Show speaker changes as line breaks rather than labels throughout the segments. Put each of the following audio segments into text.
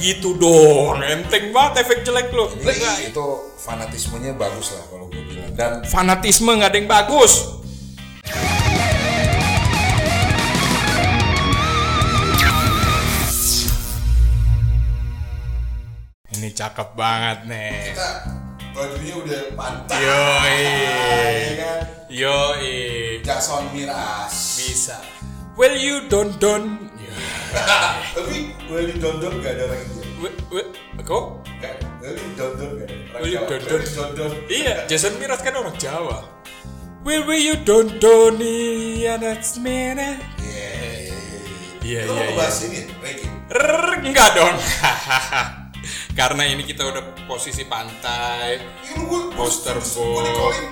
gitu dong. Enteng banget efek jelek lo.
Iya.
Enggak, iya.
Jadi itu fanatismenya bagus lah kalau gue bilang. Dan
Fanatisme nggak ada yang bagus. Ini cakep banget nih.
kita bajunya udah pantas.
Yoi.
ya kan?
Yoi.
Jackson Miras.
Bisa. Well you don't don't. Ya.
Tapi Willy Dondon gak ada orang India.
We- we- Kok?
Kan? Willy Dondon gak ada. orang
Willy
Jawa.
Dondon.
Willy Dondon.
Iya, Jason Miras kan orang Jawa. Will we you don't don't yeah, that's me nah.
Iya, iya,
Iya,
iya. Lu
iya,
mau
iya.
bahas ini, Ricky.
Rrrr, enggak dong. Karena ini kita udah posisi pantai.
Ini lu gue
Poster
Gue
boy.
dikolin.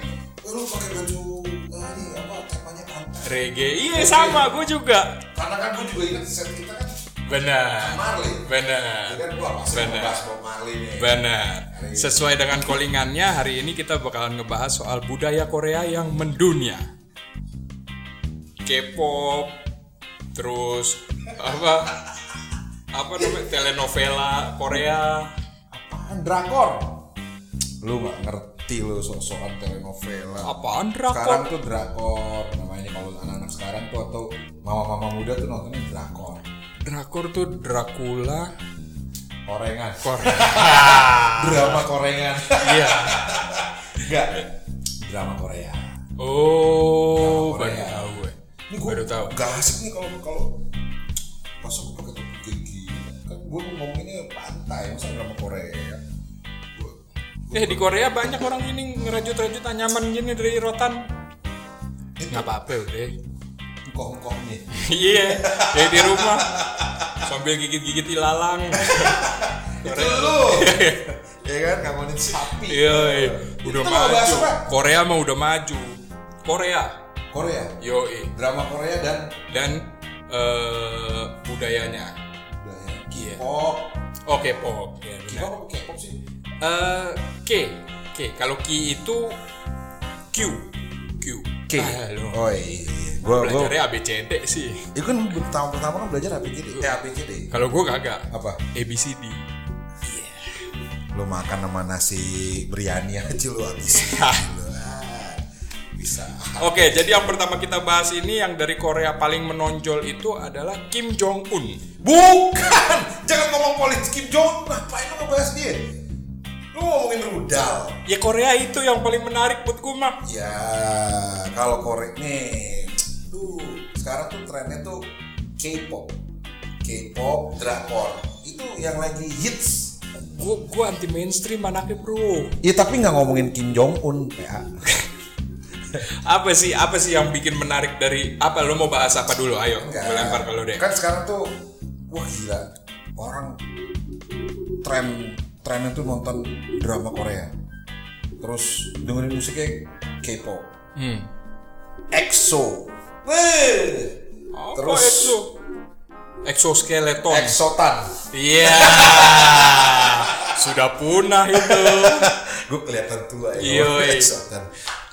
Lu pakai baju eh, ini apa? Temanya pantai.
Reggae. Iya, sama gue juga.
Karena kan gue juga ingat set kita kan
Benar.
Marley. Ya
Benar.
kan gue pasti mau
Benar.
bahas Bob Marley nih.
Benar. Sesuai dengan callingannya, hari ini kita bakalan ngebahas soal budaya Korea yang mendunia. K-pop, terus apa? Apa namanya? Telenovela Korea.
Apaan drakor? Lu gak ngerti lu sok-sokan telenovela.
Apaan
Sekarang
drakor?
tuh drakor namanya kalau anak-anak sekarang tuh atau mama-mama muda tuh nontonnya drakor.
Drakor tuh Dracula
Korengan.
Korea.
drama korengan.
Iya.
Enggak. Drama Korea.
Oh,
Korea.
baru tahu gue.
Ini gua
Baru tahu.
Gak asik nih kalau kalau masa gue pakai topi kayak gini kan gue ngomonginnya pantai masa drama Korea. Gua-
Eh di Korea banyak orang ini ngerajut-rajut anyaman gini dari rotan.
Itu
Nggak apa-apa udah.
engkoh-engkohnya.
Iya, kayak di rumah sambil gigit-gigit ilalang.
Itu lu. ya kan ngomongin sapi.
Iya, iya. udah
Kita mau bahas
maju.
apa?
Korea mah udah maju. Korea,
Korea.
yoi.
Drama Korea dan
Dan eh, budayanya.
budaya
Iya.
K-pop.
Oke, pop. Ya, benar.
K-pop apa K-pop sih?
eh K. K. Kalau K itu Q. Q. Ah, K. ya? lo.
Oh iya. Gua gua
Belajarnya ABCD sih.
itu kan pertama pertama kan belajar APCD. Eh APCD.
Kalau gue kagak.
Apa?
ABCD.
Lu makan sama nasi biryani aja lu habis. Lu, ah, Bisa.
Oke, jadi yang pertama kita bahas ini yang dari Korea paling menonjol itu adalah Kim Jong Un.
Bukan. Jangan ngomong politik Kim Jong. Ngapain lu ngebahas dia? Lu ngomongin rudal.
Ya Korea itu yang paling menarik buat gue mah.
Ya, kalau korek nih, tuh sekarang tuh trennya tuh K-pop, K-pop, drakor itu yang lagi hits.
Gue gue anti mainstream anaknya bro.
Ya tapi nggak ngomongin Kim Jong Un, PA.
Apa sih apa sih yang bikin menarik dari apa lo mau bahas apa dulu? Ayo, gue lempar kalau deh.
Kan sekarang tuh, wah gila, orang tren trennya tuh nonton drama Korea, terus dengerin musiknya K-pop,
Hmm.
EXO, Weh.
Apa
terus
EXO? Exoskeleton.
EXO-tan.
Iya. Sudah punah itu.
gue kelihatan tua ya
Iya,
kalau
iya.
EXO kan.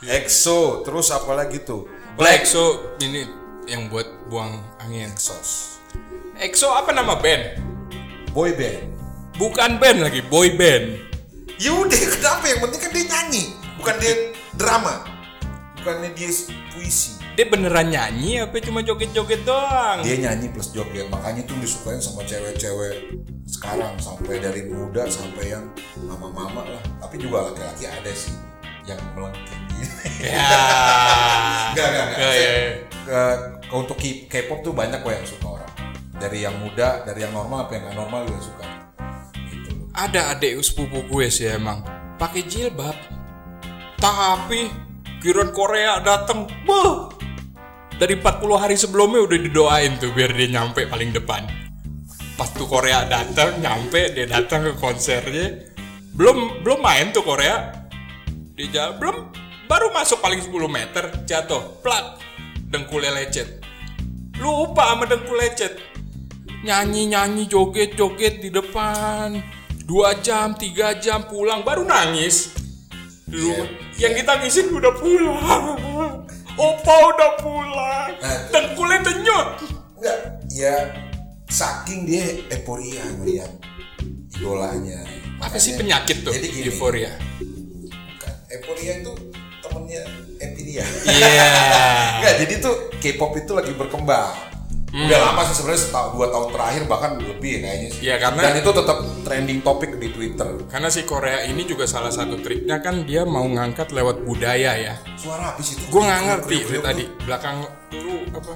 EXO terus apa lagi tuh
Black EXO ini yang buat buang angin.
EXOs
EXO apa nama band?
boy band
Bukan band lagi, boy band.
yaudah kenapa yang penting kan dia nyanyi bukan dia drama bukannya dia puisi
Dia beneran nyanyi apa cuma joget-joget doang?
dia nyanyi plus joget makanya tuh disukain sama cewek-cewek sekarang sampai dari muda sampai yang mama-mama lah tapi juga laki-laki ada sih yang melengking gini
Ya.
Enggak, enggak, enggak.
Ya, ya, ya.
Ke- ke- untuk K- K-pop tuh banyak kok yang suka orang dari yang muda dari yang normal apa yang nggak normal juga suka gitu
Ada adik sepupu gue sih emang pakai jilbab. Tapi kiran Korea dateng, beuh. Dari 40 hari sebelumnya udah didoain tuh biar dia nyampe paling depan. Pas tuh Korea datang, nyampe dia datang ke konsernya. Belum belum main tuh Korea. Dia jalan, belum baru masuk paling 10 meter jatuh plak dengkulnya lecet lupa sama dengkul lecet nyanyi nyanyi joget joget di depan dua jam tiga jam pulang baru nangis di rumah
Iya.
yang kita ngisin udah pulang opa udah pulang
Nah.
dengkulnya tenyut
Enggak, ya saking dia euforia ngeliat idolanya
Apa
Makanya-
sih penyakit tuh
jadi gini,
euforia?
bukan. euforia itu temennya Epidia
Iya.
Enggak, jadi tuh K-pop itu lagi berkembang.
Hmm.
Udah lama sih sebenarnya setahun dua tahun terakhir bahkan lebih kayaknya sih.
Iya, karena-
dan itu tetap trending topik di Twitter.
Karena si Korea ini juga salah satu triknya kan dia mau ngangkat lewat budaya ya.
Suara habis itu.
Gue nggak ngerti
Kriuk,
itu
kriuk,
tadi
kriuk.
belakang lu apa?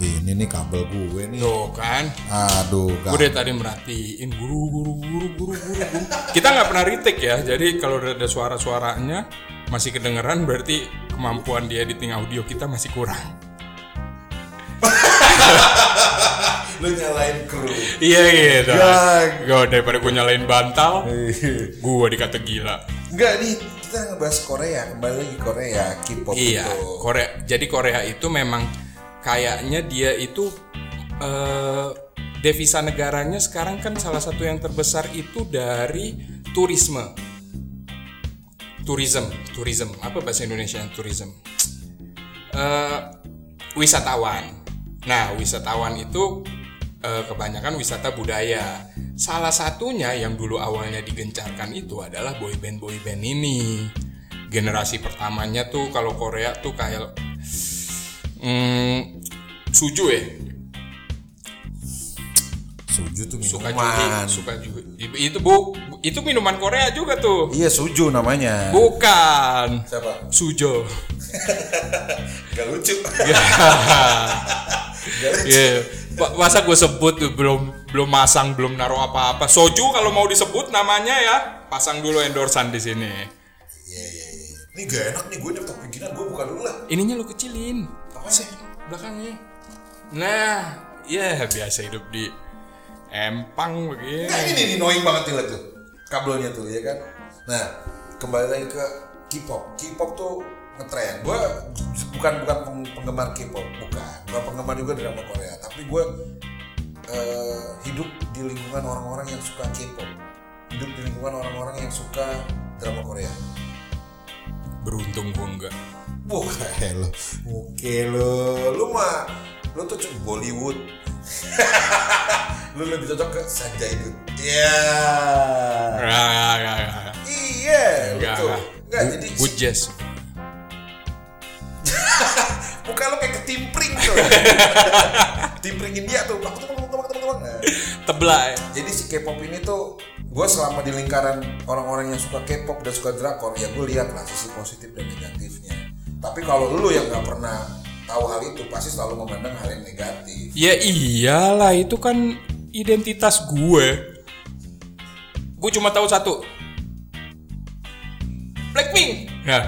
Ini nih kabel gue nih.
Tuh kan.
Aduh,
Gue dari tadi merhatiin guru guru guru guru guru. guru. Kita nggak pernah retake ya. Jadi kalau udah ada suara-suaranya masih kedengeran berarti kemampuan dia editing audio kita masih kurang.
Lu nyalain kru.
Iya gitu.
Ya.
Gue daripada gue nyalain bantal, gue dikata gila.
Enggak nih, kita ngebahas Korea, kembali lagi Korea, K-pop
Iya,
itu.
Korea. Jadi Korea itu memang kayaknya dia itu eh, devisa negaranya sekarang kan salah satu yang terbesar itu dari turisme. Tourism, tourism. Apa bahasa Indonesia tourism? Eh, wisatawan. Nah, wisatawan itu eh, kebanyakan wisata budaya. Salah satunya yang dulu awalnya digencarkan itu adalah boyband boyband ini. Generasi pertamanya tuh kalau Korea tuh kayak hmm, suju ya
Suju tuh
suka
minuman.
juhi suka juhi itu bu itu minuman Korea juga tuh
Iya, Suju namanya.
bukan
Siapa?
sujo
Gak lucu.
Ya. Iya. Ma- Masa gue sebut tuh, belum belum masang, belum naruh apa-apa. Soju kalau mau disebut namanya ya, pasang dulu endorsan di sini.
Iya, iya, iya. Ini gak enak nih, gue daftar pinggiran, gue buka dulu lah.
Ininya lu kecilin.
Apaan?
Se- Belakangnya. Nah, ya biasa hidup di empang
Nah
begini.
ini nih annoying banget nih liat tuh kabelnya tuh ya kan. Nah kembali lagi ke K-pop. K-pop tuh ngetren. Gue bukan bukan peng- penggemar K-pop, bukan. Gue penggemar juga drama Korea. Tapi gue eh, hidup di lingkungan orang-orang yang suka K-pop. Hidup di lingkungan orang-orang yang suka drama Korea.
Beruntung gue enggak.
Oke lo, oke lo, lu mah lu tuh cuma Bollywood. lu lebih cocok ke Sanjay Dutt. Iya.
Nah, ya, ya, ya.
Iya,
Enggak,
betul.
enggak.
Enggak, jadi
Good jazz.
muka lo kayak ketimpring tuh. Timpring India tuh. Aku tuh teman-teman teman-teman. Nah,
Tebla ya.
jadi si K-pop ini tuh gue selama di lingkaran orang-orang yang suka K-pop dan suka drakor ya gue lihat lah sisi positif dan negatifnya. Tapi kalau lu yang nggak pernah tahu hal itu pasti selalu memandang hal yang negatif.
Ya iyalah itu kan identitas gue. Gue cuma tahu satu. Blackpink. Ya,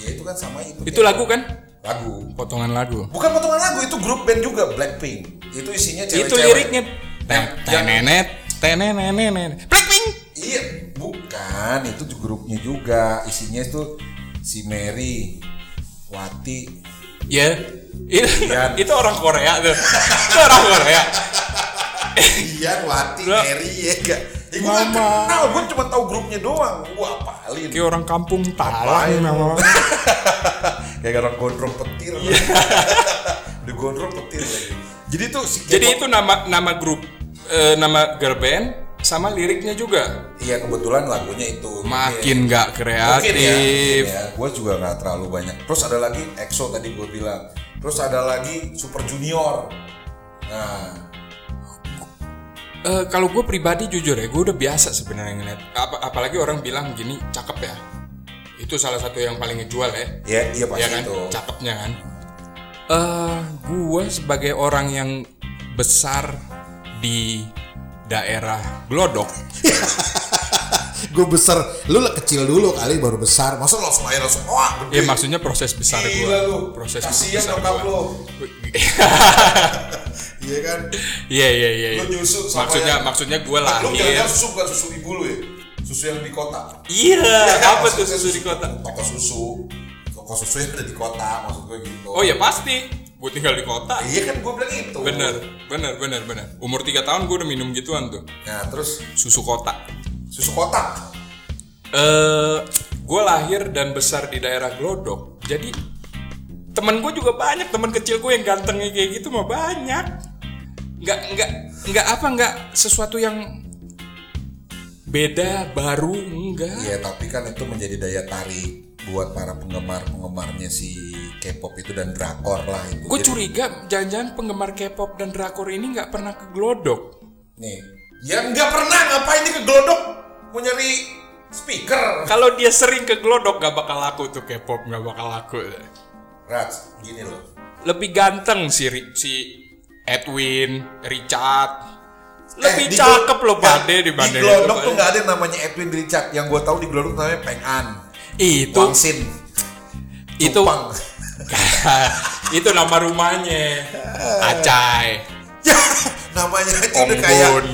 Ya itu kan sama itu.
itu lagu kan?
Lagu.
Potongan lagu.
Bukan potongan lagu itu grup band juga Blackpink. Itu isinya
Itu
cewek-cewek.
liriknya.
Yang- yang-
Tenenet, tenenenenet. Blackpink.
Iya, bukan. Itu di grupnya juga. Isinya itu si Mary, Wati.
Ya. Itu,
Ian.
itu orang Korea tuh. itu orang Korea.
Iya, Wati,
Lah.
Mary ya enggak. Ya, gue nggak
Mama.
kenal, gue cuma tahu grupnya doang. Gua apalin.
Kayak orang kampung talang nama.
Kayak orang gondrong petir.
Iya.
Udah gondrong petir lagi. Jadi tuh si
Jadi
K-pop-
itu nama nama grup eh, nama girl band sama liriknya juga.
Iya kebetulan lagunya itu.
Makin gak kreatif.
Iya. Mungkin ya, mungkin ya. Gue juga nggak terlalu banyak. Terus ada lagi EXO tadi gue bilang. Terus ada lagi Super Junior. Nah,
Eh, kalau gue pribadi jujur ya, gue udah biasa sebenarnya ngeliat. Apa- apalagi orang bilang gini, cakep ya. Itu salah satu yang paling ngejual ya.
ya iya pasti
ya kan,
itu.
cakepnya kan. Eh, gue sebagai orang yang besar di daerah Glodok,
gue besar lu lah kecil dulu kali baru besar
Masa lo langsung aja langsung wah
ya
gede.
maksudnya proses besar gue,
Gila lu.
proses
Kasian
besar
nyokap
gua.
lo. Iya kan?
Iya iya iya. iya.
Lu nyusu sama
Maksudnya
yang-
maksudnya gue
Lu jangan
lahir.
susu bukan susu ibu lu ya. Susu yang di kota. kan?
Iya. Apa tuh
Maksudnya
susu di kota?
Toko susu. Toko susu yang ada di kota maksud gue gitu.
Oh ya pasti. Gue tinggal di kota.
Iya kan gue bilang itu.
Bener, bener, bener, bener. Umur 3 tahun gue udah minum gituan tuh,
Nah, terus
susu kotak.
susu kotak.
Eh, gue lahir dan besar di daerah Glodok. Jadi teman gue juga banyak, teman kecil gue yang gantengnya kayak gitu mah banyak. nggak nggak nggak apa nggak sesuatu yang beda baru enggak
Iya, tapi kan itu menjadi daya tarik buat para penggemar-penggemarnya si K-pop itu dan drakor lah itu.
gue
Jadi,
curiga jangan-jangan penggemar K-pop dan drakor ini nggak pernah ke Glodok
Nih, ya nggak pernah ngapain ini ke Glodok mau nyari speaker.
kalau dia sering ke Glodok nggak bakal laku tuh K-pop nggak bakal laku
Rats, gini loh.
lebih ganteng si Ri- si Edwin Richard
Eh,
lebih
di Glo-
cakep loh
Nggak,
Pade dibanding
Di Glodok tuh nggak ada yang namanya Edwin Richard. Yang gue tahu di Glodok namanya Peng An,
itu
Wang Sin,
itu
Cupang.
itu nama rumahnya Acai
Ya, namanya aja udah
Ong
kayak
Bun.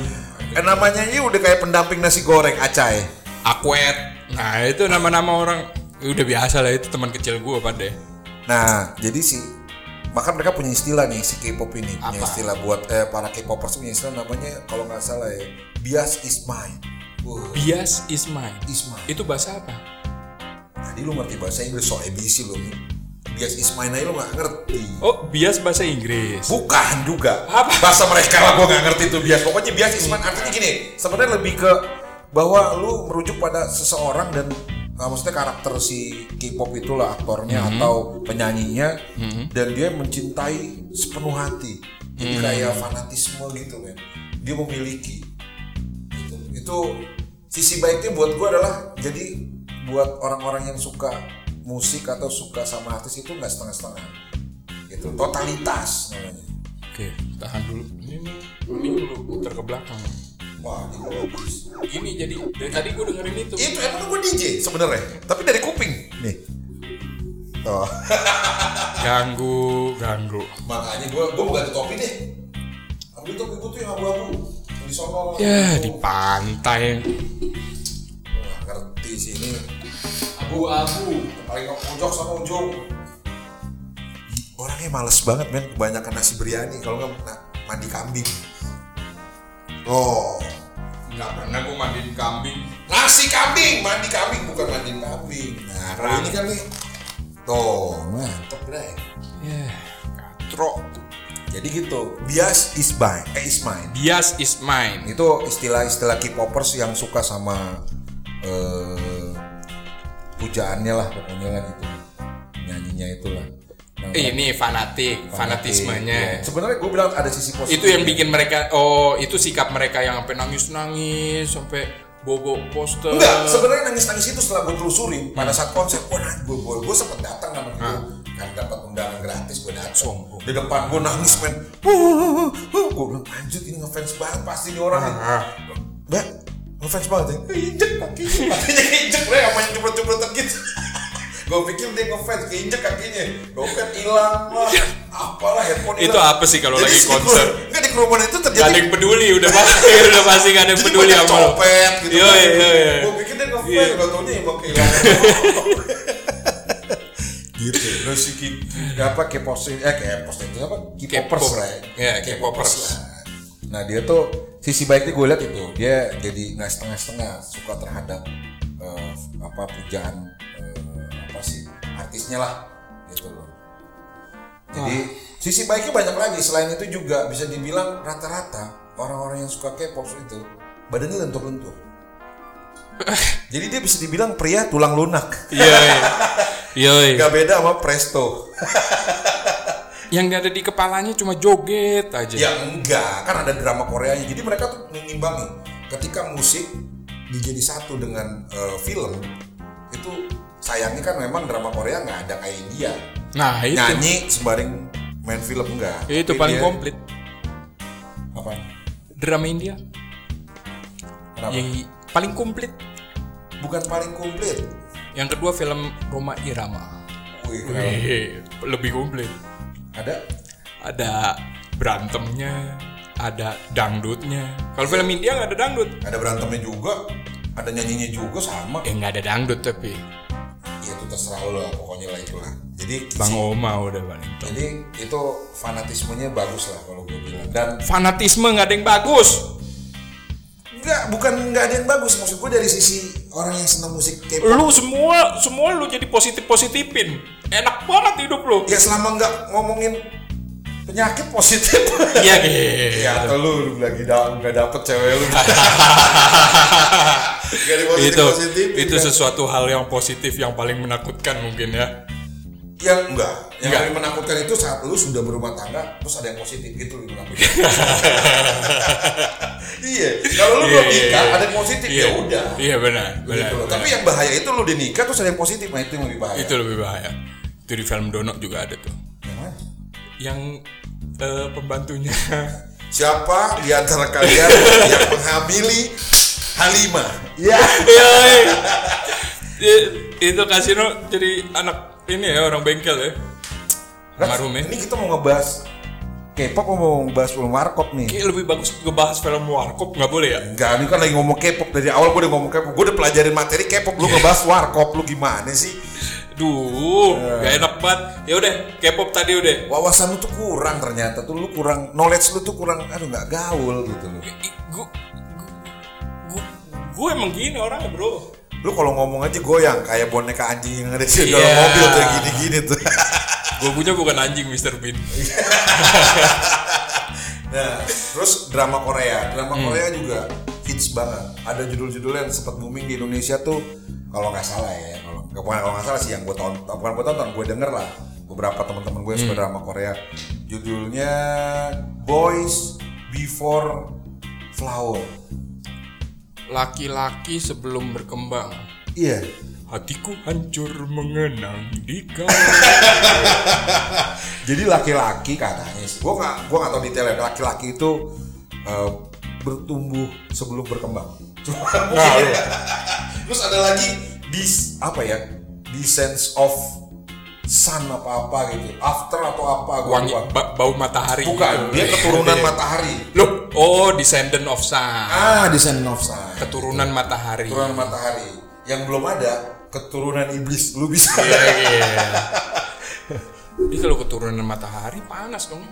eh, namanya aja udah kayak pendamping nasi goreng acai.
Akuet nah itu nama-nama orang Ya udah biasa lah itu teman kecil gue Pade
Nah, jadi si maka mereka punya istilah nih si K-pop ini punya
Apa?
istilah buat eh, para K-popers punya istilah namanya kalau nggak salah ya bias is mine. Wah,
bias is mine
is mine.
itu bahasa apa
Tadi lu ngerti bahasa Inggris soal ABC lu. Bias is mine aja lu nggak ngerti.
oh bias bahasa Inggris
Bukan juga.
Apa?
Bahasa mereka lah gua nggak ngerti itu bias. Pokoknya bias is mine artinya gini. Sebenarnya lebih ke bahwa lu merujuk pada seseorang dan ah, maksudnya karakter si K-pop itulah aktornya atau penyanyinya dan dia mencintai sepenuh hati. Jadi kayak fanatisme gitu men. Dia memiliki gitu. itu sisi baiknya buat gue adalah jadi buat orang-orang yang suka musik atau suka sama artis itu nggak setengah-setengah gitu totalitas namanya
oke tahan dulu ini nih ini dulu putar ke belakang
wah ini bagus
ini jadi dari tadi gue dengerin itu
itu emang gue DJ sebenarnya tapi dari kuping nih oh
ganggu ganggu
makanya gue gue bukan topi deh ambil topi gue tuh yang abu-abu yang di sono
ya di
Tuh.
pantai
Gua nggak ngerti sih ini
abu-abu
paling ke pojok sama ujung orangnya males banget men kebanyakan nasi biryani kalau nggak na- mandi kambing oh
nggak pernah gue mandiin kambing
nasi kambing mandi kambing bukan mandi kambing nah kalau ini kan nih tuh mantep deh
ya
trok jadi gitu bias is mine eh is mine
bias is mine
itu istilah-istilah K-popers yang suka sama eh, pujaannya lah pokoknya lah gitu nyanyinya itulah Nah,
Eh, ini fanatik,
Iya.
fanatismenya.
Sebenarnya gue bilang ada sisi positif.
Itu yang bikin mereka oh, itu sikap mereka yang sampai nangis-nangis, sampai bobo poster.
Enggak, sebenarnya nangis-nangis itu setelah gue telusurin pada saat konser, gue nangis, gue, gue, gue sempet datang sama dia kan dapat undangan gratis gue datang
Ah. Sombong.
di depan gue nangis men gue bilang lanjut ini ngefans banget pasti ini orang nih.
Ah.
mbak ngefans banget ya injek kakinya kakinya injek bre sama yang jebret-jebretan gitu gue pikir dia ngefans keinjek kakinya dompet hilang lah apalah handphone
Itu
hilang.
apa sih kalau
Jadi
lagi
si
konser?
kerumunan- enggak di kerumunan itu
Gak
terjadi
ada yang peduli udah pasti udah pasti gak ada yang
jadi
peduli
banyak
sama lo.
copet gitu
Iya,
kan.
iya, iya.
Gua pikir dia ngefans
Iya.
nggak taunya emang kehilangan gitu terus si ki ki- apa keposin eh keposin itu apa kpopers
K-pop.
lah
Iya, K-popers.
lah. nah dia tuh sisi baiknya gue lihat itu dia jadi nggak setengah-setengah suka terhadap eh, apa pujaan eh, apa sih artisnya lah gitu loh jadi sisi baiknya banyak lagi. Selain itu juga bisa dibilang rata-rata orang-orang yang suka K-pop itu badannya lentur-lentur. Jadi dia bisa dibilang pria tulang lunak.
Iya. Iya. iya.
Gak beda sama Presto.
Yang gak ada di kepalanya cuma joget aja.
Ya enggak, kan ada drama Koreanya. Jadi mereka tuh mengimbangi. Ketika musik dijadi satu dengan eh, film itu sayangnya kan memang drama Korea nggak ada kayak India.
Nah, itu.
Nyanyi sembaring main film enggak.
itu
Tapi
paling
dia-
komplit.
Apa?
Drama India
Kenapa?
yang paling komplit.
Bukan paling komplit.
Yang kedua film Roma Irama.
Wih, kenapa?
Wih, lebih komplit.
ada
ada berantemnya, ada dangdutnya. Kalau film India nggak ada dangdut.
ada berantemnya juga ada nyanyinya juga sama
Eh nggak ada dangdut tapi
ya itu terserah lo lah, pokoknya lah itu lah jadi
Bang Oma udah paling top.
jadi itu fanatismenya bagus lah kalau gue bilang dan
Fanatisme nggak ada yang bagus.
nggak bukan nggak ada yang bagus maksud gue dari sisi orang yang senang musik K-pop
Lu semua semua lu jadi positif positifin. Enak banget hidup lu.
ya selama nggak ngomongin penyakit positif
Iya gitu.
ya atau lu, lu lagi da gak dapet cewek lu gak di positif
itu
positif iya.
itu sesuatu hal yang positif yang paling menakutkan mungkin ya.
yang enggak yang
Enggak.
paling menakutkan itu saat lu sudah berumah tangga terus ada yang positif gitu lu bilang. iya kalau
Iya,
lu belum
iya,
nikah
iya.
ada yang positif
Iya.
ya udah
Iya benar, benar.
Gitu loh.
benar.
tapi yang bahaya itu lu udah nikah terus ada yang positif nah itu yang lebih bahaya
itu lebih bahaya. Itu di film Dono juga ada tuh.
Yang mana?
Yang eh, pembantunya
siapa di antara kalian yang menghamili Halimah ya
Yoi. Di- Iya, itu kasino jadi anak ini ya orang bengkel ya. Almarhum ya.
eh. ini kita mau ngebahas K-pop apa mau ngebahas film warkop nih
Kayaknya lebih bagus ngebahas film warkop nggak boleh ya?
Enggak, ini kan lagi ngomong K-pop dari awal gue udah ngomong K-pop. Gue udah pelajarin materi K-pop, lu ngebahas warkop lu gimana sih?
Duh, gak enak banget. Ya udah, K-pop tadi udah.
Wawasan lu tuh kurang ternyata tuh lu kurang knowledge lu tuh kurang aduh nggak gaul gitu lu.
Gue gue emang gini orangnya bro.
Lu kalau ngomong aja goyang kayak boneka anjing yang ada di
Iya.
dalam mobil tuh yang gini-gini tuh.
Gue punya bukan anjing Mr. Bean.
nah, terus drama Korea, drama Korea juga hits banget. Ada judul-judul yang sempat booming di Indonesia tuh kalau nggak salah ya, kalau nggak- bukan kalau nggak salah sih yang gue tonton, bukan gue tonton, gue denger lah beberapa teman-teman gue yang suka drama Korea. Judulnya Boys Before Flower.
Laki-laki sebelum berkembang.
Iya.
Hatiku hancur mengenang di kau.
Jadi laki-laki katanya, sih, gue nggak gue nggak tahu detailnya. Laki-laki itu eh, bertumbuh sebelum berkembang.
Nah, lu.
Terus ada lagi dis apa ya? The sense of sun apa apa gitu. After atau apa gua
Wangi
lupa.
ba- bau matahari. gitu.
Bukan, dia keturunan
Iya.
matahari.
Loh, oh descendant of sun.
Ah, the sense of sun.
Keturunan matahari.
Keturunan matahari. Yang belum ada keturunan iblis. Lu bisa.
Iya, iya. Jadi kalau keturunan matahari panas dong.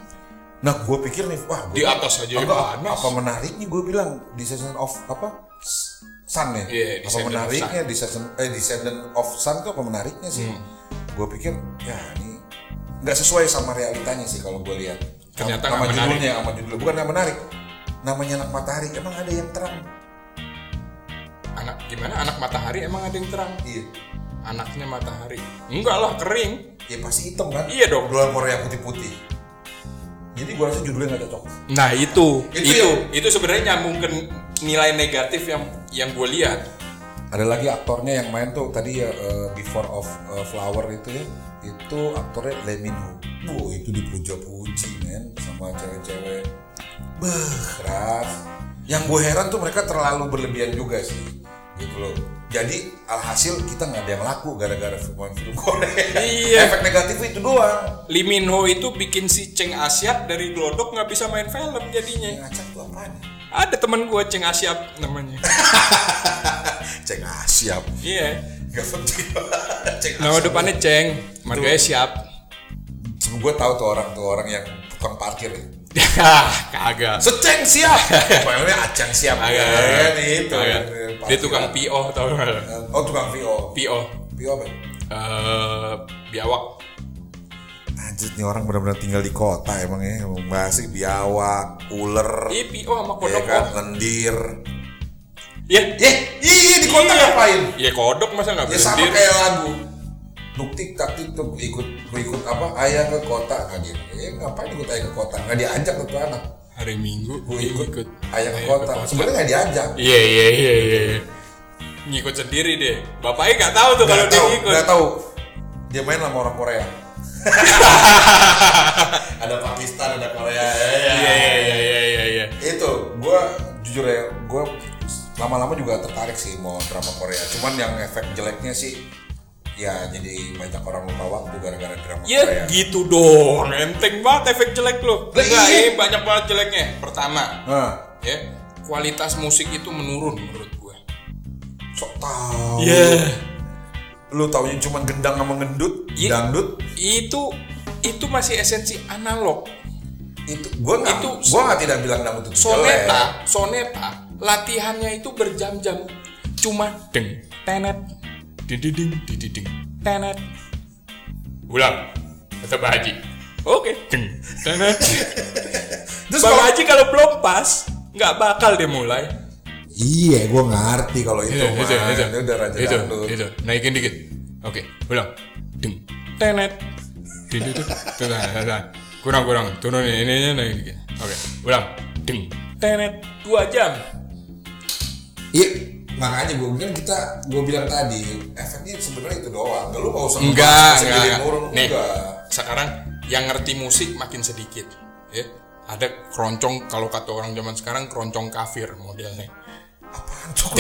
Nah, gua pikir nih, wah, gua-
Di atas aja
apa,
panas.
apa menariknya gue bilang the sense of apa? S- Sun ya.
Iya,
apa
descendant of
menariknya the sense eh descendant of sun tuh apa menariknya sih?
Hmm.
Gue pikir ya ini nggak sesuai sama realitanya sih kalau gue lihat.
Ternyata
nama
nggak menarik.
judulnya, sama judulnya bukan nggak menarik. Namanya anak matahari, emang ada yang terang?
Anak gimana? Anak matahari emang ada yang terang.
Iya.
Anaknya matahari. Enggak lah, kering.
Ya pasti hitam kan?
Iya dong.
Dolar Korea putih-putih. Jadi gue rasa judulnya nggak cocok.
Nah itu
Itu ya?
itu itu,
yang-
sebenarnya nyambung ke nilai negatif yang yang gue lihat.
Ada lagi aktornya yang main tuh tadi ya eh, Before of eh, Flower itu ya. Itu aktornya Lee Min Ho. Wow, itu dipuja-puji men sama cewek-cewek. Beuh, keras. Yang gue heran tuh mereka terlalu berlebihan juga sih. Gitu loh. Jadi alhasil kita nggak ada yang laku gara-gara film-film Korea.
Iya.
Efek negatif itu doang.
Lee Min Ho itu bikin si Ceng Asiap dari Glodok nggak bisa main film jadinya.
Yang acak tuh apaan? ya?
Ada teman gue Ceng Asiap namanya.
Cek ah, siap.
Iya.
Gak penting. Cek ah,
Nama
siap.
depannya Ceng, marganya Siap.
Cuma gue tahu tuh orang tuh orang yang tukang parkir ya.
Hah, Kagak.
Seceng siap. Panggilnya acang siap.
Kagak.
Ya, kan itu.
Kagak. Dia
Parkiran.
tukang PO tau nggak?
Oh tukang VO.
PO.
VO apa? ya?
Eh, biawak.
Anjir nih orang benar-benar tinggal di kota emang ya. Emang Masih biawak, ular,
Iya PO sama
ya
kodok.
kan, lendir.
Iya.
Eh, iya di kota ngapain?
Iya kodok masa nggak
Ya sama
berhenti?
kayak lagu. Nuktik taktik tuh ikut ikut apa ayah ke kota kan dia. Ya ngapain ikut ayah ke kota? Nggak diajak tuh anak.
Hari Minggu
Gue
gue Iya,
ikut,
ikut.
ayah ke kota. Sebenarnya nggak diajak.
Iya iya iya iya. Ngikut sendiri deh. Bapaknya nggak tahu tuh kalau
Gak
dia
tahu,
ngikut.
gak tahu. Dia main sama orang Korea. ada Pakistan, ada Korea. ya, ya.
Iya iya iya iya iya. iya.
Itu, gue jujur ya, gue lama-lama juga tertarik sih mau drama Korea. Cuman yang efek jeleknya sih, ya jadi banyak orang lupa waktu gara-gara drama
Ya
Korea.
gitu dong. Enteng banget efek jelek lo.
Lah,
Enggak,
iya.
ini banyak banget jeleknya. Pertama,
Nah,
ya kualitas musik itu menurun menurut gue.
sok tau.
Iya.
Lu taunya cuman gendang sama gendut,
Iya.
dangdut.
Itu itu masih esensi analog.
Itu, gue nggak,
Itu-
gue nggak tidak bilang dangdut itu jelek.
Soneta, soneta, latihannya itu berjam-jam. Cuma deng, tenet, dididing, dididing, tenet. Ulang, kata Pak Haji. Oke. Ceng. Teng-teng.
Terus
Bang
kalau-
Haji kalau belum pas, nggak bakal dia mulai.
Iya, gue ngerti.
Ngerti kalau itu,
Iya, Itu,
man.
itu, itu.
Dia udah raja
Itu,
dangdut.
itu. Naikin dikit. Oke, ulang. Deng. Tenet. Ding, ding, ding. Tuh, nah, nah, nah. Kurang, kurang. Turunin ininya naikin dikit. Oke, ulang. Deng. Tenet. Dua jam.
Iya, makanya gue bilang kita, gue bilang tadi efeknya sebenarnya itu doang. Gak lu mau usah
Enggak,
sendiri
enggak.
Murung,
Nih,
enggak.
sekarang yang ngerti musik makin sedikit. Ya. Ada keroncong kalau kata orang zaman sekarang keroncong kafir modelnya.
Apaan tuh?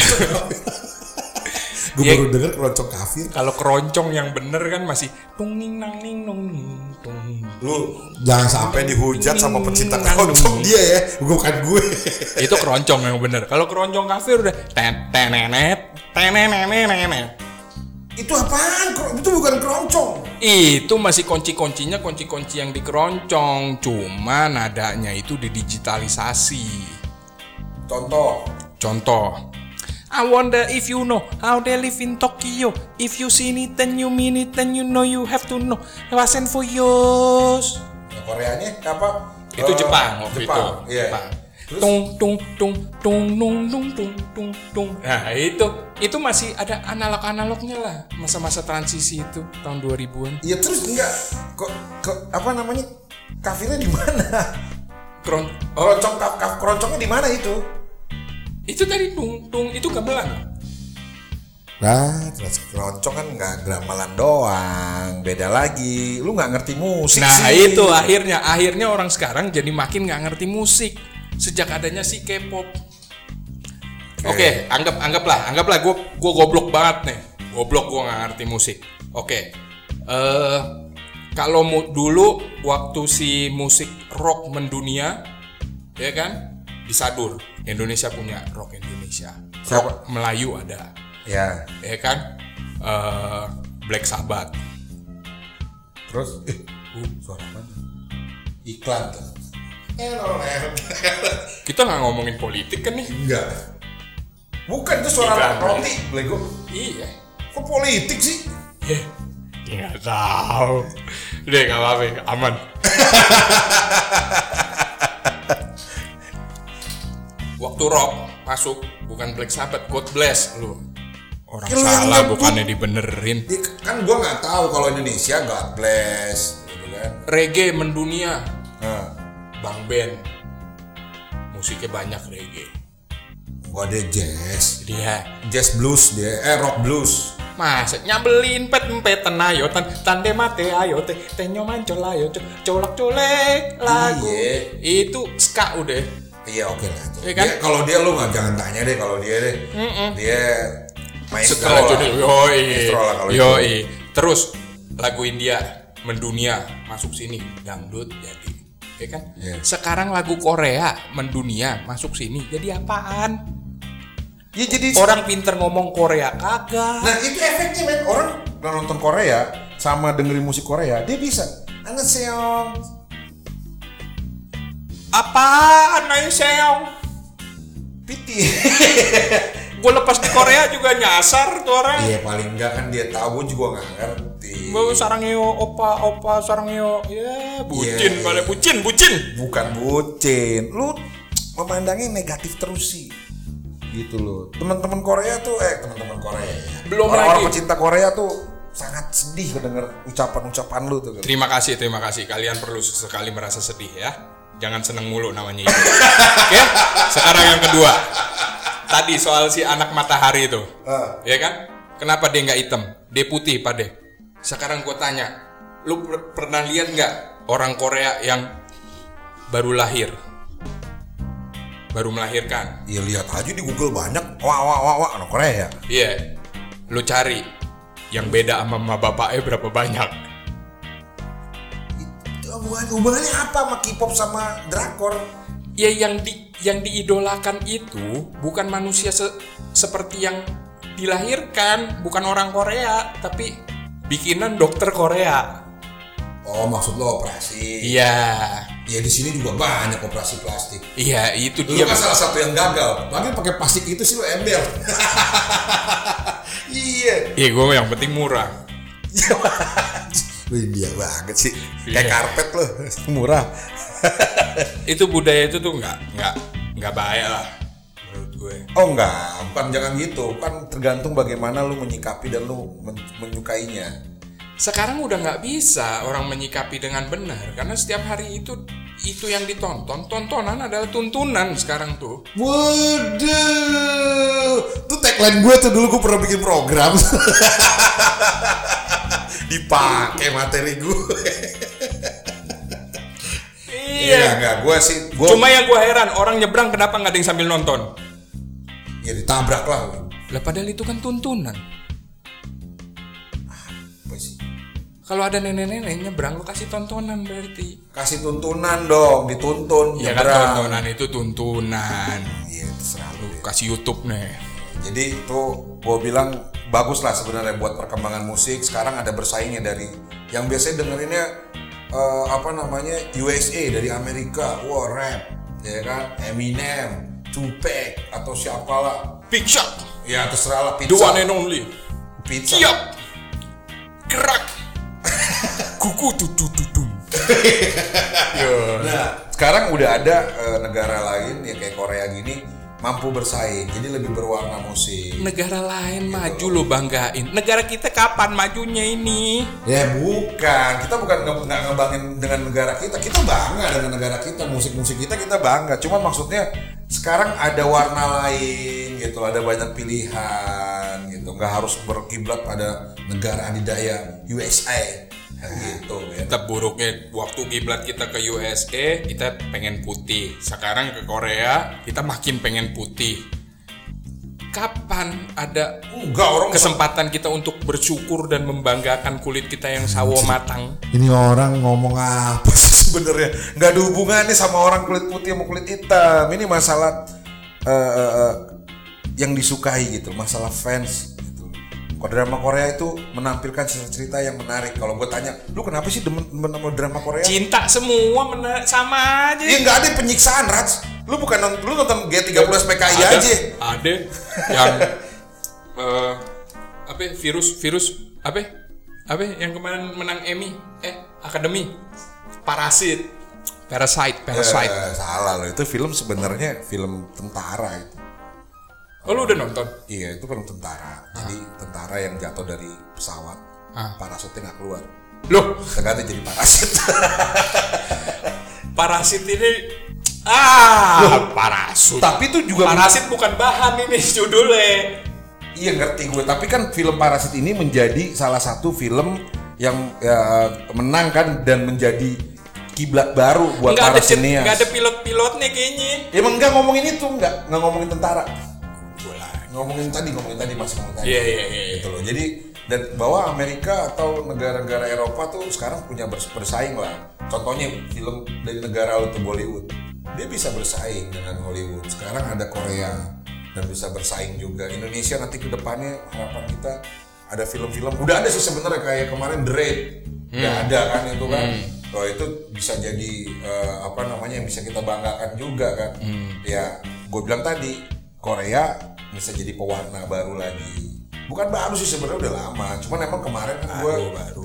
Gue
Iya.
baru denger keroncong kafir.
Kalau keroncong yang bener kan masih tung ning nang ning nung ning tung.
lu
Jangan sampai
sampai dihujat sama pecinta
Hmm,
keroncong
keroncong.
dia ya. Bukan gue.
Itu keroncong yang bener. Kalau keroncong kafir udah ten tenenet tenenenenenet.
Itu apaan? Kero- Itu bukan keroncong.
Itu masih kunci-kuncinya kunci-kunci yang di keroncong, cuma nadanya itu didigitalisasi.
Contoh,
Contoh. I wonder if you know how they live in Tokyo. If you see it then you mean it then you know you have to know. Wasen for yours.
yang ya Koreanya apa?
Itu
Eh,
Jepang waktu
Jepang,
itu.
Iya.
Jepang.
Terus
Tung tung tung tung dung dung tung tung tung. Nah, itu itu masih ada analog-analognya lah masa-masa transisi itu tahun 2000-an.
Iya terus enggak kok kok apa namanya? Kafirnya di mana?
Kron
Keroncong kaf, kaf- keroncongnya di mana itu?
itu tadi tung tung itu gamelan.
Nah,
Terus keroncong kan enggak gamelan doang, beda lagi. Lu nggak ngerti musik
Nah,
sih.
itu akhirnya akhirnya orang sekarang jadi makin nggak ngerti musik sejak adanya si K-pop. Oke, anggap anggaplah, anggaplah gue gue goblok banget nih. Goblok gue nggak ngerti musik. Oke. Eh kalau mu- dulu waktu si musik rock mendunia, ya kan? Disadur. Indonesia punya rock Indonesia. Rock Melayu ada,
Ya,
ya kan? Eh Black Sabbath.
terus eh, uh, suara mana? Iklan tuh. Eh, Error, error.
Kita nggak ngomongin politik kan nih?
Enggak. Bukan itu suara
Iklan, ya.
roti, Blego.
Iya.
Kok politik sih?
Eh, nggak tahu. Udah nggak apa-apa, aman. Waktu rock masuk bukan Black Sabbath, God bless lu. Orang
Ya, lu yang
salah
nyebut.
bukannya dibenerin.
Ya, kan gua nggak tahu kalau Indonesia God bless, gitu kan.
Reggae mendunia,
Nah,
Bang Ben. Musiknya banyak reggae.
gua ada jazz,
Jadi ya,
jazz blues dia, eh rock blues.
masa nyambelin pet empetan ayo tan tande mate ayo te tenyo mancol ayo co- colak colek lagu
Iya.
itu ska udah
Iya oke lah. itu.
Iya kan?
Dia- kalau dia lu nggak jangan tanya deh kalau dia deh. Dia maestro
setelah
lah.
Johnny yoi
Maestro lah kalau
yoi terus lagu India mendunia masuk sini dangdut jadi ya kan
Iya.
sekarang lagu Korea mendunia masuk sini jadi apaan
Ya jadi
orang pinter ngomong Korea kagak
Nah itu efeknya men orang kalau nonton Korea sama dengerin musik Korea dia bisa. Annyeong.
apaan ayo seong
Piti.
gue lepas di Korea juga nyasar tuh orang
Iya paling enggak kan dia tahu gua juga nggak ngerti.
Gue sarang yo opa opa sarang yo ya bucin
Iya.
pada bucin bucin
Bukan bucin, lu memandangnya negatif terus sih. Gitu loh. Teman-teman Korea tuh eh teman-teman Korea. ya.
Belum
Orang-orang
lagi.
pecinta Korea tuh sangat sedih denger ucapan-ucapan lu tuh. gitu.
Terima kasih, terima kasih. Kalian perlu sesekali merasa sedih ya. Jangan seneng mulu namanya itu. Oke, sekarang yang kedua. Tadi soal si anak matahari itu.
Ah.
Ya kan? Kenapa dia nggak hitam? Dia putih, pade. Sekarang gue tanya, lu per- pernah lihat nggak orang Korea yang baru lahir? Baru melahirkan.
Iya lihat aja di Google banyak wah wah wah wah anak Korea.
Iya. Lu cari yang beda sama mama bapaknya berapa banyak.
Itu Hubungan, hubungannya apa sama K-pop sama drakor?
ya yang di yang diidolakan itu bukan manusia se- seperti yang dilahirkan bukan orang Korea tapi bikinan dokter Korea
Oh maksud lo operasi?
iya
Ya di sini juga banyak operasi plastik.
iya itu
Lu
dia
kan salah satu yang gagal.
Lagi pakai plastik itu sih lo ember.
Iya.
iya gue yang penting murah
Lu India banget.
banget sih
Iya.
kayak karpet loh murah
itu budaya itu tuh nggak nggak nggak baik lah menurut gue
oh enggak bukan jangan gitu kan tergantung bagaimana lu menyikapi dan lu men- menyukainya
sekarang udah nggak bisa orang menyikapi dengan benar karena setiap hari itu itu yang ditonton tontonan adalah tuntunan sekarang tuh
Waduh, tuh tagline gue tuh dulu gue pernah bikin program.
dipakai materi gue
iya
iya enggak gue sih gue
cuma yang gue heran orang nyebrang kenapa nggak ada yang sambil nonton
ya ditabrak lah
lah padahal itu kan tuntunan
Apa sih?
kalau ada nenek-nenek nyebrang lu kasih tontonan berarti
kasih tuntunan dong dituntun
Iya kan
nyebrang.
tontonan itu tuntunan
iya terserah lu
lu kasih YouTube nih
Jadi itu gue bilang bagus lah sebenarnya buat perkembangan musik. Sekarang ada bersaingnya dari yang biasanya dengerinnya eh, apa namanya USA dari Amerika, wah rap, ya kan, Eminem, Tupac atau siapalah.
Big Shot
Ya terserah lah
the
pizza.
one and only
pizza.
siap gerak kuku tu tu tu tu
Nah, sekarang udah ada eh, negara lain ya kayak Korea gini mampu bersaing. Jadi lebih berwarna musik.
negara lain maju lo banggain negara kita kapan majunya ini
Ya bukan, kita bukan nge- nggak ngebangin dengan negara kita, kita bangga dengan negara kita, musik-musik kita kita bangga. Cuma maksudnya sekarang ada warna lain gitu, ada banyak pilihan gitu, nggak harus berkiblat pada negara adidaya USA Nah, gitu ya.
tetap buruknya waktu kiblat kita ke USA kita pengen putih sekarang ke Korea kita makin pengen putih kapan ada
Enggak orang
kesempatan kita untuk bersyukur dan membanggakan kulit kita yang sawo matang
Ini orang ngomong apa?
apa sih sebenarnya nggak ada hubungannya sama orang kulit putih sama kulit hitam ini masalah eh, eh, eh, yang disukai gitu masalah fans gitu kalau drama Korea itu menampilkan cerita-cerita yang menarik kalau gue tanya lu kenapa sih demen, demen sama drama Korea
cinta semua mena- sama aja
Iya nggak ada penyiksaan Raj lu bukan nont- lu nonton G30 SPKI
ada,
iya aja
ada yang eh, apa ya, virus virus apa ya, apa ya, yang kemarin menang Emmy eh akademi parasit parasite parasite
Eh, salah lo itu film sebenarnya film tentara itu
oh lu udah nonton
Iya itu film tentara. Jadi tentara yang jatuh dari pesawat,
Ah.
parasutnya nggak keluar.
loh
Tergantung jadi parasit.
parasit ini ah parasut
tapi itu juga
parasit bukan bahan ini judulnya
iya ngerti gue. Tapi kan film Parasit ini menjadi salah satu film yang ya, menang kan dan menjadi kiblat baru buat
nggak
para
ada cer-
sinias.
nggak ada pilot-pilotnya kayaknya
Emang nggak ngomongin itu nggak nggak ngomongin tentara. Ngomongin tadi ngomongin tadi masih ngomongin tadi.
iya iya iya
gitu loh. Jadi dan bahwa Amerika atau negara-negara Eropa tuh sekarang punya bers- bersaing lah. Contohnya film dari negara lu tuh Bollywood, dia bisa bersaing dengan Hollywood. Sekarang ada Korea dan bisa bersaing juga. Indonesia nanti kedepannya harapan kita ada film-film. Udah ada sih sebenarnya kayak kemarin The Raid, nggak ada kan itu kan. Loh, itu bisa jadi eh, apa namanya yang bisa kita banggakan juga kan. Ya, gue bilang tadi Korea bisa jadi pewarna baru lagi bukan baru sih sebenarnya udah lama cuman emang kemarin kan gue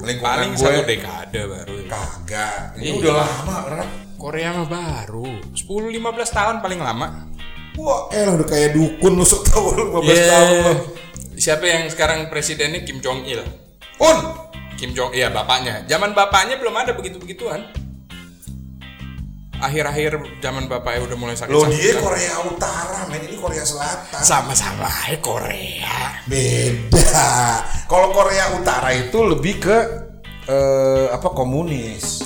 lingkungan
paling
gue
satu dekade baru ya.
kagak ini
Iya.
udah lama karena
Korea mah baru 10-15 tahun paling lama
wah
Eh lah udah kayak dukun lu sok tau.
tahun 15
Yeah.
tahun loh
Siapa yang sekarang presidennya Kim Jong Il?
un
Kim Jong iya bapaknya. Zaman bapaknya belum ada begitu-begituan. Akhir-akhir zaman bapaknya udah mulai sakit.
lo dia Korea Utara men ini Korea Selatan
sama-sama eh, Korea.
Beda.
kalau Korea Utara itu lebih ke eh, apa komunis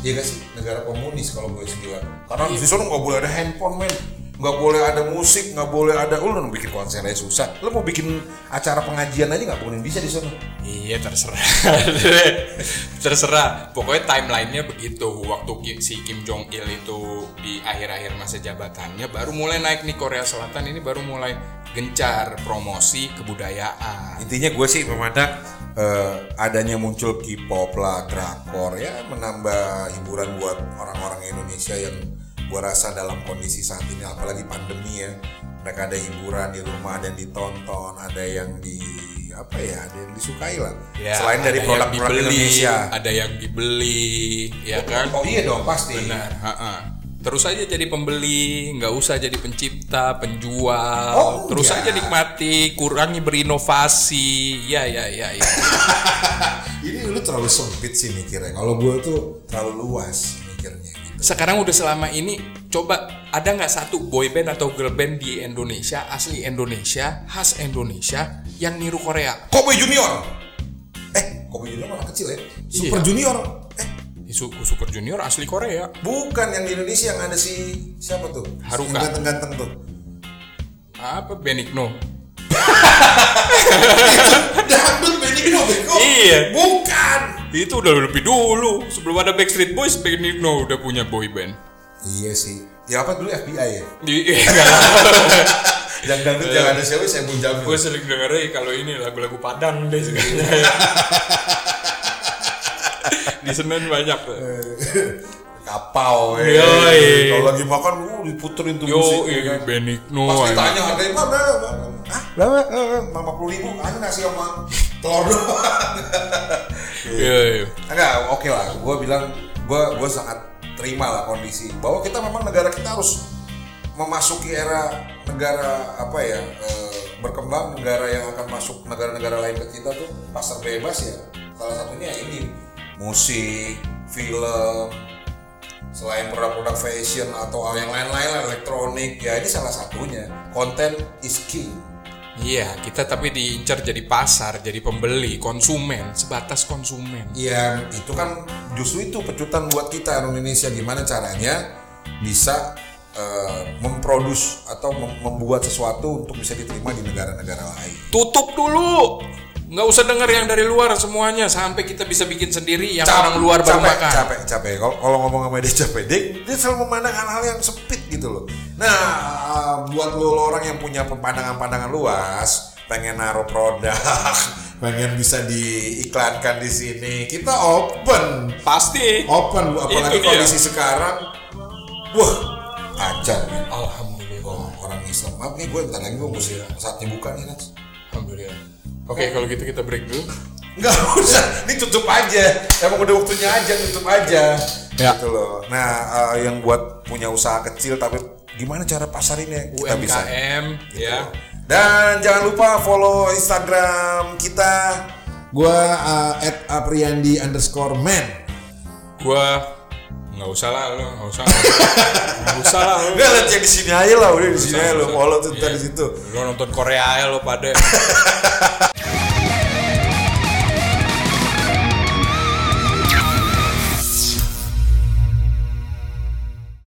iya gak sih negara komunis kalau gue sendiri karena di sana nggak boleh ada handphone men nggak boleh ada musik nggak boleh ada oh, lu mau bikin konser aja susah lu mau bikin acara pengajian aja nggak mungkin bisa di sana
Iya terserah. terserah. Pokoknya timelinenya begitu. Waktu Kim, si Kim Jong Il itu di akhir-akhir masa jabatannya baru mulai naik nih Korea Selatan ini baru mulai gencar promosi kebudayaan.
intinya gue sih memandang eh, adanya muncul K-pop lah, drakor ya menambah hiburan buat orang-orang Indonesia yang gue rasa dalam kondisi saat ini apalagi pandemi ya mereka ada hiburan di rumah ada yang ditonton ada yang di apa apa ya ada yang disukai lah
Ya,
selain
ada
dari
yang
produk-produk
dibeli,
Indonesia
ada yang dibeli ya kan
oh iya dong pasti
Benar. ha-ha. Terus aja jadi pembeli, nggak usah jadi pencipta, penjual.
Oh,
Terus
iya.
aja nikmati, kurangi berinovasi. Ya, ya, ya, ya.
ini lu terlalu sempit sih mikirnya kalau gue tuh terlalu luas mikirnya gitu
Sekarang udah selama ini, coba ada nggak satu boy band atau girl band di Indonesia, asli Indonesia, khas Indonesia, yang niru Korea?
Kobe Junior eh Kobe Junior malah kecil ya Super
Iya.
Junior eh
Su- Super Junior asli Korea.
bukan yang di Indonesia yang ada si siapa tuh
Haruka.
yang ganteng-ganteng tuh
Apa Benigno?
dangdut Benny Go, bego.
Iya.
bukan
Itu udah lebih dulu. Sebelum ada Backstreet Boys, Benigno udah punya boy band.
iya sih ya apa dulu FBI ya
Di, Iya,
yang dangdut yang ada siapa saya pun jamin
gue sering dengerin kalau ini lagu-lagu Padang deh sebenarnya. di Senen banyak tuh.
Eh, kapau eh.
Yoi.
kalau lagi makan uh, diputerin tuh
Yo, iya,
musik ya
ini
kan.
Benigno.
pas
anak.
ditanya harganya mana ah berapa lima puluh ribu ada nasi sama telur doang
Iya, iya.
enggak oke lah gue bilang gue gue sangat terima lah kondisi bahwa kita memang negara kita harus memasuki era negara apa ya eh, berkembang negara yang akan masuk negara-negara lain ke kita tuh pasar bebas ya salah satunya ini musik film selain produk-produk fashion atau yang lain-lain lah, elektronik ya ini salah satunya konten is king
Iya, kita tapi diincar jadi pasar, jadi pembeli, konsumen, sebatas konsumen.
Ya itu kan justru itu pecutan buat kita orang Indonesia gimana caranya bisa eh, memproduce atau mem- membuat sesuatu untuk bisa diterima di negara-negara lain.
Tutup dulu. Nggak usah denger yang dari luar semuanya sampai kita bisa bikin sendiri yang orang luar baru
capek,
makan.
Capek, capek. Kalau kalau ngomong sama dia capek, dia, dia selalu memandang hal-hal yang sempit gitu loh. Nah, eh, buat lo, lo orang yang punya pandangan-pandangan luas, pengen naruh produk, pengen bisa diiklankan di sini, kita open.
Pasti.
open Bu.
Itu
apalagi
dia.
kondisi sekarang wah kacau men.
Alhamdulillah.
Oh, orang Islam maaf nih gue ntar lagi gue mesti saatnya buka nih Nas
Alhamdulillah. Oke, kalau gitu kita break dulu.
nggak usah ini tutup aja emang udah waktunya aja tutup aja
Ya.
gitu loh nah eh, yang buat punya usaha kecil tapi gimana cara pasarinnya kita bisa Gitu.
UMKM E, ya.
dan jangan lupa follow Instagram kita eh,
Gua uh, at Apriandi underscore man.
gua nggak usah lah lo nggak usah nggak usah lah lo
Enggak lihat yang di sini aja lah, udah di sini
Usah,
aja lo
usah.
follow tuh ntar
Iya.
di situ.
lo nonton Korea ya lo pada